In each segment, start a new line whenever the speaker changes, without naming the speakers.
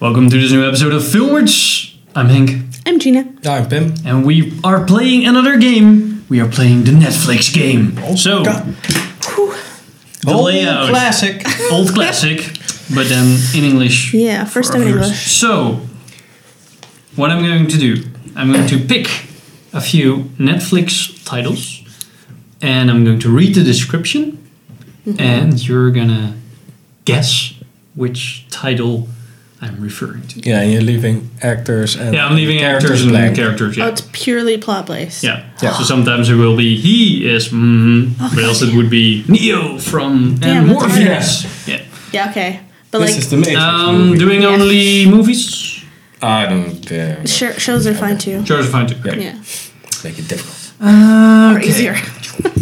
Welcome to this new episode of Filmwords. I'm Hank,
I'm Gina.
I'm Pim.
and we are playing another game. We are playing the Netflix game. so,
God.
the layout,
Classic.
old classic, but then in English.
Yeah, first time in
Others.
English.
So, what I'm going to do, I'm going to pick a few Netflix titles and I'm going to read the description
Mm-hmm.
and you're gonna guess which title I'm referring to.
yeah, you're leaving actors and
Yeah, I'm leaving
characters
actors and
blank.
characters.
Oh,
Yeah.
it's purely plot based.
Yeah.
Yeah.
So sometimes it will be he is, mm, but else it would be Neo from
Yeah,
and
Oh, that's right.
Morpheus. Yeah.
Yeah, okay. But
This is
like
the Matrix
Um,
movie.
doing
Yeah.
only movies.
I don't care.
sh- shows are fine too.
Sure, fine too. Okay.
Yeah.
Make it difficult.
Uh, Or
Okay.
easier.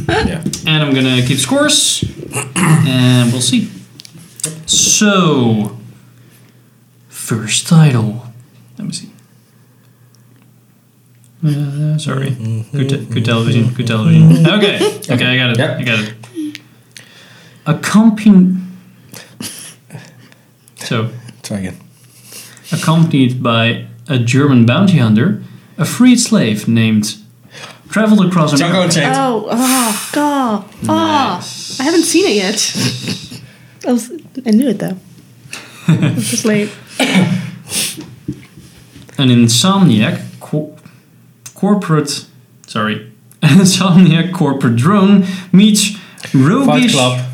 yeah.
And I'm gonna keep scores, and we'll see. So, first title. Let me see. Uh, sorry. Good, te- good television. Good television. Okay. Okay, I got it.
Yep.
I got it. Accompanied. So,
Try again.
accompanied by a German bounty hunter, a freed slave named traveled across America.
Choco change.
Oh, oh, god. Oh,
Nice.
I haven't seen it yet. I was, I knew it though. I was just late.
an insomniac co- corporate sorry an insomniac corporate drone meets
Fight
roguish
Club.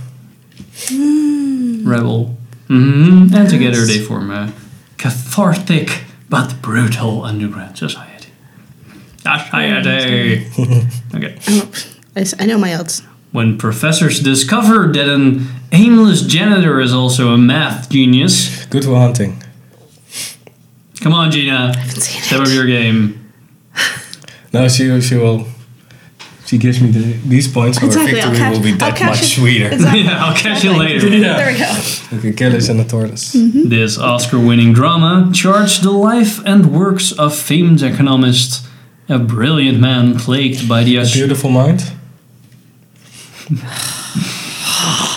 rebel Mhm. and together they form a cathartic but brutal underground society society okay
Oh, I, s- I know my odds.
when professors discover that an aimless janitor is also a math genius
Good Will Hunting.
come on gina
I haven't seen
step up
it.
your game
No, she, she will. She gives me the, these points, or
Exactly, I'll
victory
catch-
will be
I'll
that
catch
much
it.
sweeter.
Exactly.
yeah i'll catch you
Exactly.
later
Yeah.
There we go.
Like a Gillis and a tortoise.
Mm-hmm.
This Oscar winning drama charts the life and works of famed economist, a brilliant man plagued by the.
A
Aus-
beautiful mind.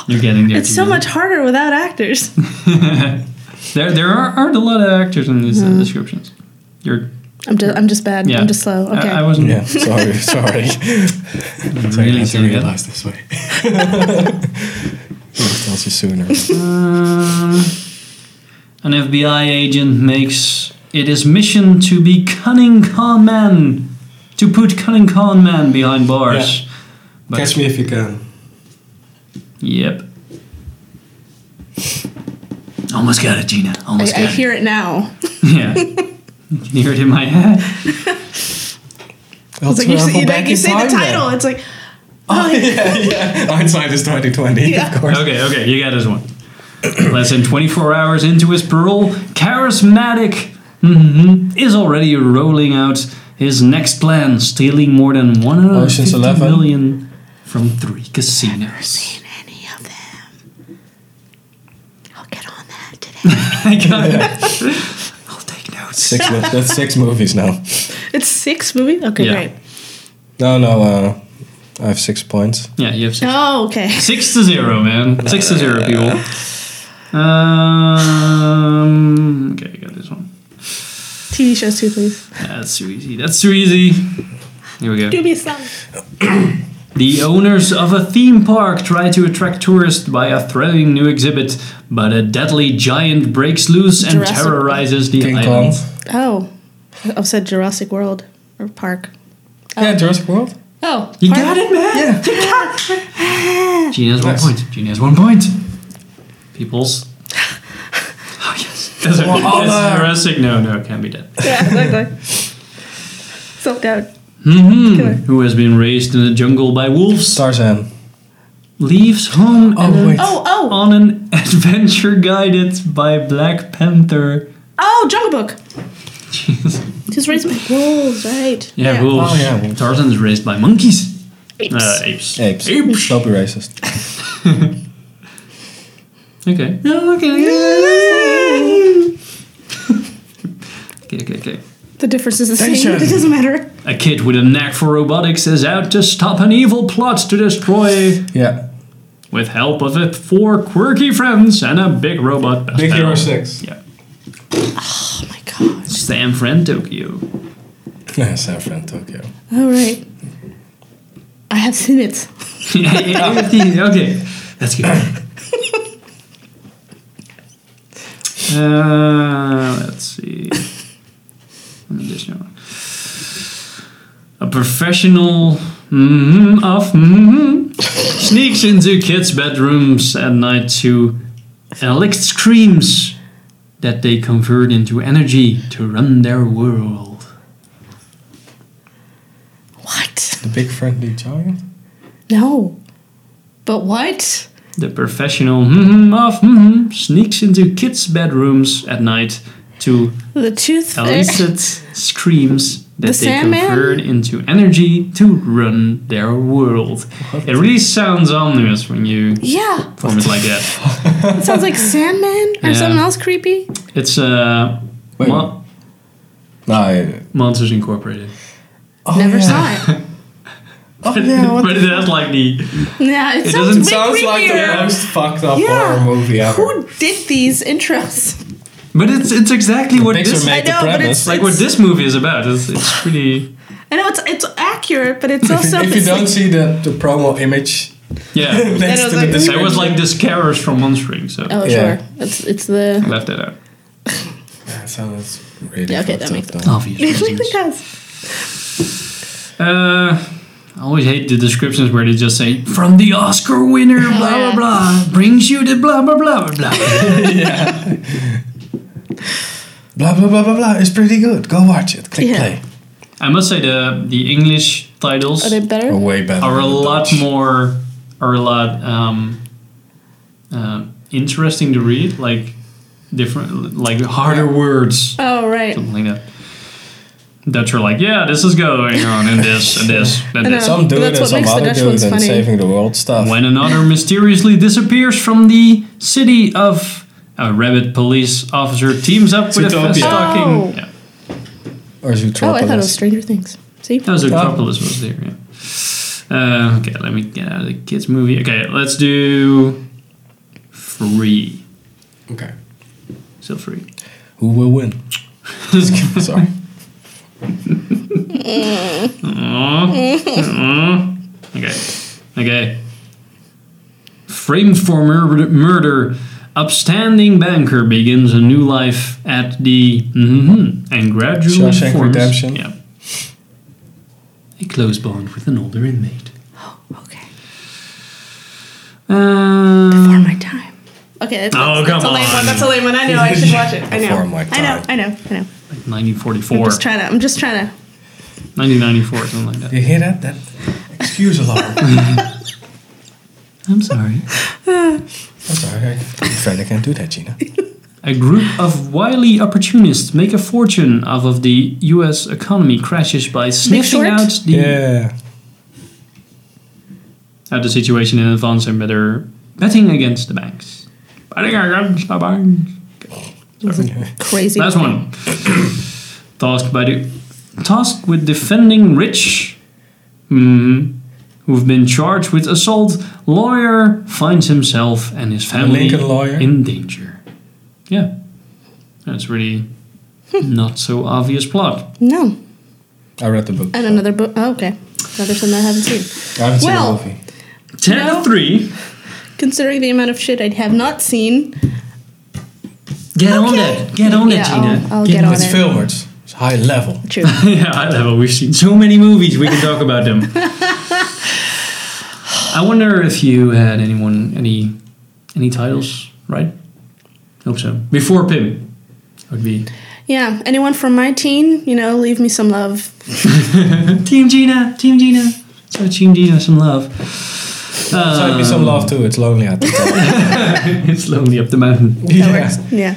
You're getting there.
It's so
Julia.
much harder without actors.
There, there are, aren't a lot of actors in these uh,
Mm-hmm.
descriptions. You're.
I'm just, I'm just bad.
Yeah.
I'm just slow.
I-
Okay.
I, wasn't
Yeah, sorry, sorry. Sorry, I
really
had to
saying that.
realize this way. It tells you sooner.
Uh, an FBI agent makes it his mission to be cunning con man, to put cunning con man behind bars. But-
Catch me if you can.
Yep. Almost got it, Gina.
I,
Almost
I
got it.
hear it now.
Yeah. you can hear it in my head.
I
It's like you, see, like you say the title. It's like, oh, yeah.
Hindsight is 2020,
Yeah.
of course.
Okay, okay, you got this one. Less than 24 hours into his parole, charismatic mhm, is already rolling out his next plan, stealing more than one
Ocean's
hundred
Eleven.
million from three casinos.
any of them. I'll get on that today.
I got it. I'll take notes.
Six, mo- that's six movies now.
it's six movies? Okay,
Yeah.
great.
No, no, uh, I have six points.
Yeah, you have six.
Oh, okay.
Six to zero, man. Six to zero, people. Um, okay, I got this one.
TV shows too, please.
That's too easy. That's too easy. Here we go.
Do me a song.
The owners of a theme park try to attract tourists by a thrilling new exhibit, but a deadly giant breaks loose and
Jurassic
terrorizes the
King
island.
Kong.
Oh, I said Jurassic World or Park. Um,
Yeah, Jurassic World.
Oh,
You
Park.
got it, man!
Yeah.
Gene has
Nice.
one point. Gene has one point. Peoples. Oh, yes. That's a,
Well, all
that's
the-
Jurassic. No, no, it can't be that.
Yeah, exactly. so down. Killer.
hmm Who has been raised in the jungle by wolves,
Tarzan.
leaves home
Oh, wait.
Oh, oh,
on an adventure guided by Black Panther.
oh, Jungle Book. Just raised by wolves, right?
Yeah, wolves.
Oh, yeah, wolves.
Tarzan's raised by monkeys.
Apes.
Uh, apes.
Apes.
Apes.
Don't be racist.
Okay. No, okay. okay, okay, okay.
the difference is the same.
Attention.
It doesn't matter.
A kid with a knack for robotics is out to stop an evil plot to destroy,
Yeah.
with help of it four quirky friends and a big robot.
Big
pal.
Hero 6.
Yeah.
Oh my gosh.
San Fran Tokyo.
Yeah, San Fran, Tokyo.
All right. I have seen it.
okay, that's good. Uh, let's see. An additional one. A professional mhm, of mhm, sneaks into kids' bedrooms at night to elect screams that they convert into energy to run their world.
What?
The big friendly giant?
No. But what?
The professional mhm, of mhm, sneaks into kids' bedrooms at night to
The tooth fairy.
elicit screams that they
The Sandman?
convert into energy to run their world. It really sounds ominous when you
Yeah.
form it like that.
It sounds like Sandman or
Yeah.
something else creepy.
It's uh,
Wait.
Mo-
No, I,
Monsters Incorporated.
oh,
Never
yeah.
saw it.
Oh, yeah, what
but it has like the.
Yeah, it,
It
sounds
doesn't
way
Sounds like the
creepier.
most fucked up
Yeah.
horror movie ever.
Who did these intros?
But it's it's exactly what
Pixar
this
made
I
the
know, but
premise.
it's-
like what this movie is about. It's, it's pretty
I know it's it's accurate, but it's
if, you,
also
if you
it's
don't
like-
see the, the promo image
yeah.
next
I was
to
There
like, "Ooh."
the description,
was like this carriage from Monstering, so
oh
Yeah.
sure, it's it's the
left that out.
that sounds really
Yeah, okay,
fucked
that makes
up, though.
Obviously. Uh, I always hate the descriptions where they just say from the Oscar winner, blah blah
yeah.
blah, brings you the blah blah blah blah blah.
Blah blah blah blah blah. It's pretty good. Go watch it. Click
Yeah.
play.
I must say the the English titles
Are they better?
Or way better.
are a
than the
lot
Dutch.
more are a lot um, uh, interesting to read, like different, like harder words,
Oh right.
something like that. Dutch are like, yeah, this is going on, and this, and this, and
I know.
this.
Some do it
That's
and
what
some
makes the
other
Dutch
do it
ones
and
funny.
saving the world stuff.
When another mysteriously disappears from the city of a rabbit police officer teams up with a
Zootopia.
stalking.
Oh.
Yeah.
or Zootropolis.
Oh, I thought it was Stranger Things. See?
No, Zootropolis was there. Yeah. Uh, okay, let me get out of the kids' movie. Okay, let's do free.
Okay.
Still free.
Who will win? Sorry.
Okay. Okay. Framed for mur- murder, upstanding banker begins a new life at the mhm, and gradually
Shawshank
forms
Redemption.
Yeah, a close bond with an older inmate.
Okay. Before
Um,
my time. Okay, that's,
Oh,
that's, that's
come
a lame
on.
one. That's a lame one. I know. I should watch it. I know.
Before my
I know.
time.
I know. I know. I'm
1944,
just trying to. I'm just trying to.
1994, something like that.
You hear that? That excuse alarm. I'm
I'm sorry.
sorry. You finally can do that, Gina.
A group of wily opportunists make a fortune out of the U.S. economy crashes by sniffing
Short?
out the
Yeah.
out the situation in advance and better betting against the banks. Betting against the banks.
Crazy.
Last one. tasked by the tasked with defending rich, mhm, who've been charged with assault. Lawyer finds himself and his family
Lincoln lawyer?
in danger. Yeah, that's really not so obvious plot.
No.
I read the book.
And another book. Oh, okay. Another one that I haven't seen.
I haven't
Well-
seen the movie.
Ten
No.
to three.
Considering the amount of shit I have not seen.
Get on
Okay.
that. Get on
Yeah,
that,
I'll-
Gina.
I'll get
on
on
It's
it.
Filmers. It's high level.
True.
yeah, I love it. We've seen so many movies. We can talk about them. I wonder if you had anyone any any titles, right? Hope so. Before Pim, that would be
Yeah. Anyone from my teen, you know, leave me some love.
Team Gina, Team Gina. So Team Gina, some love. Um,
Send me some love too. It's lonely at the top.
It's lonely up the mountain.
yeah.
Yeah.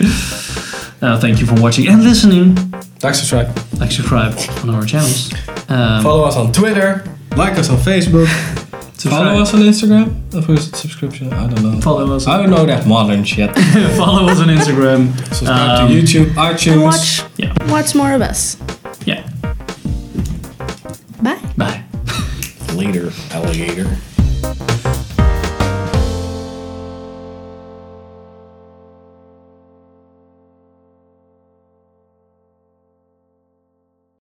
Uh, thank you for watching and listening.
Thanks for trying.
Like subscribe on our channels. Um,
Follow us on Twitter. Like us on Facebook.
subscribe.
Follow us on Instagram. Or is it subscription? I don't know.
Follow us.
I don't know that modern shit.
Follow us on Instagram.
Subscribe
Um,
to YouTube, iTunes.
And watch.
Yeah.
Watch more of us.
Yeah.
Bye.
Bye.
Later, alligator.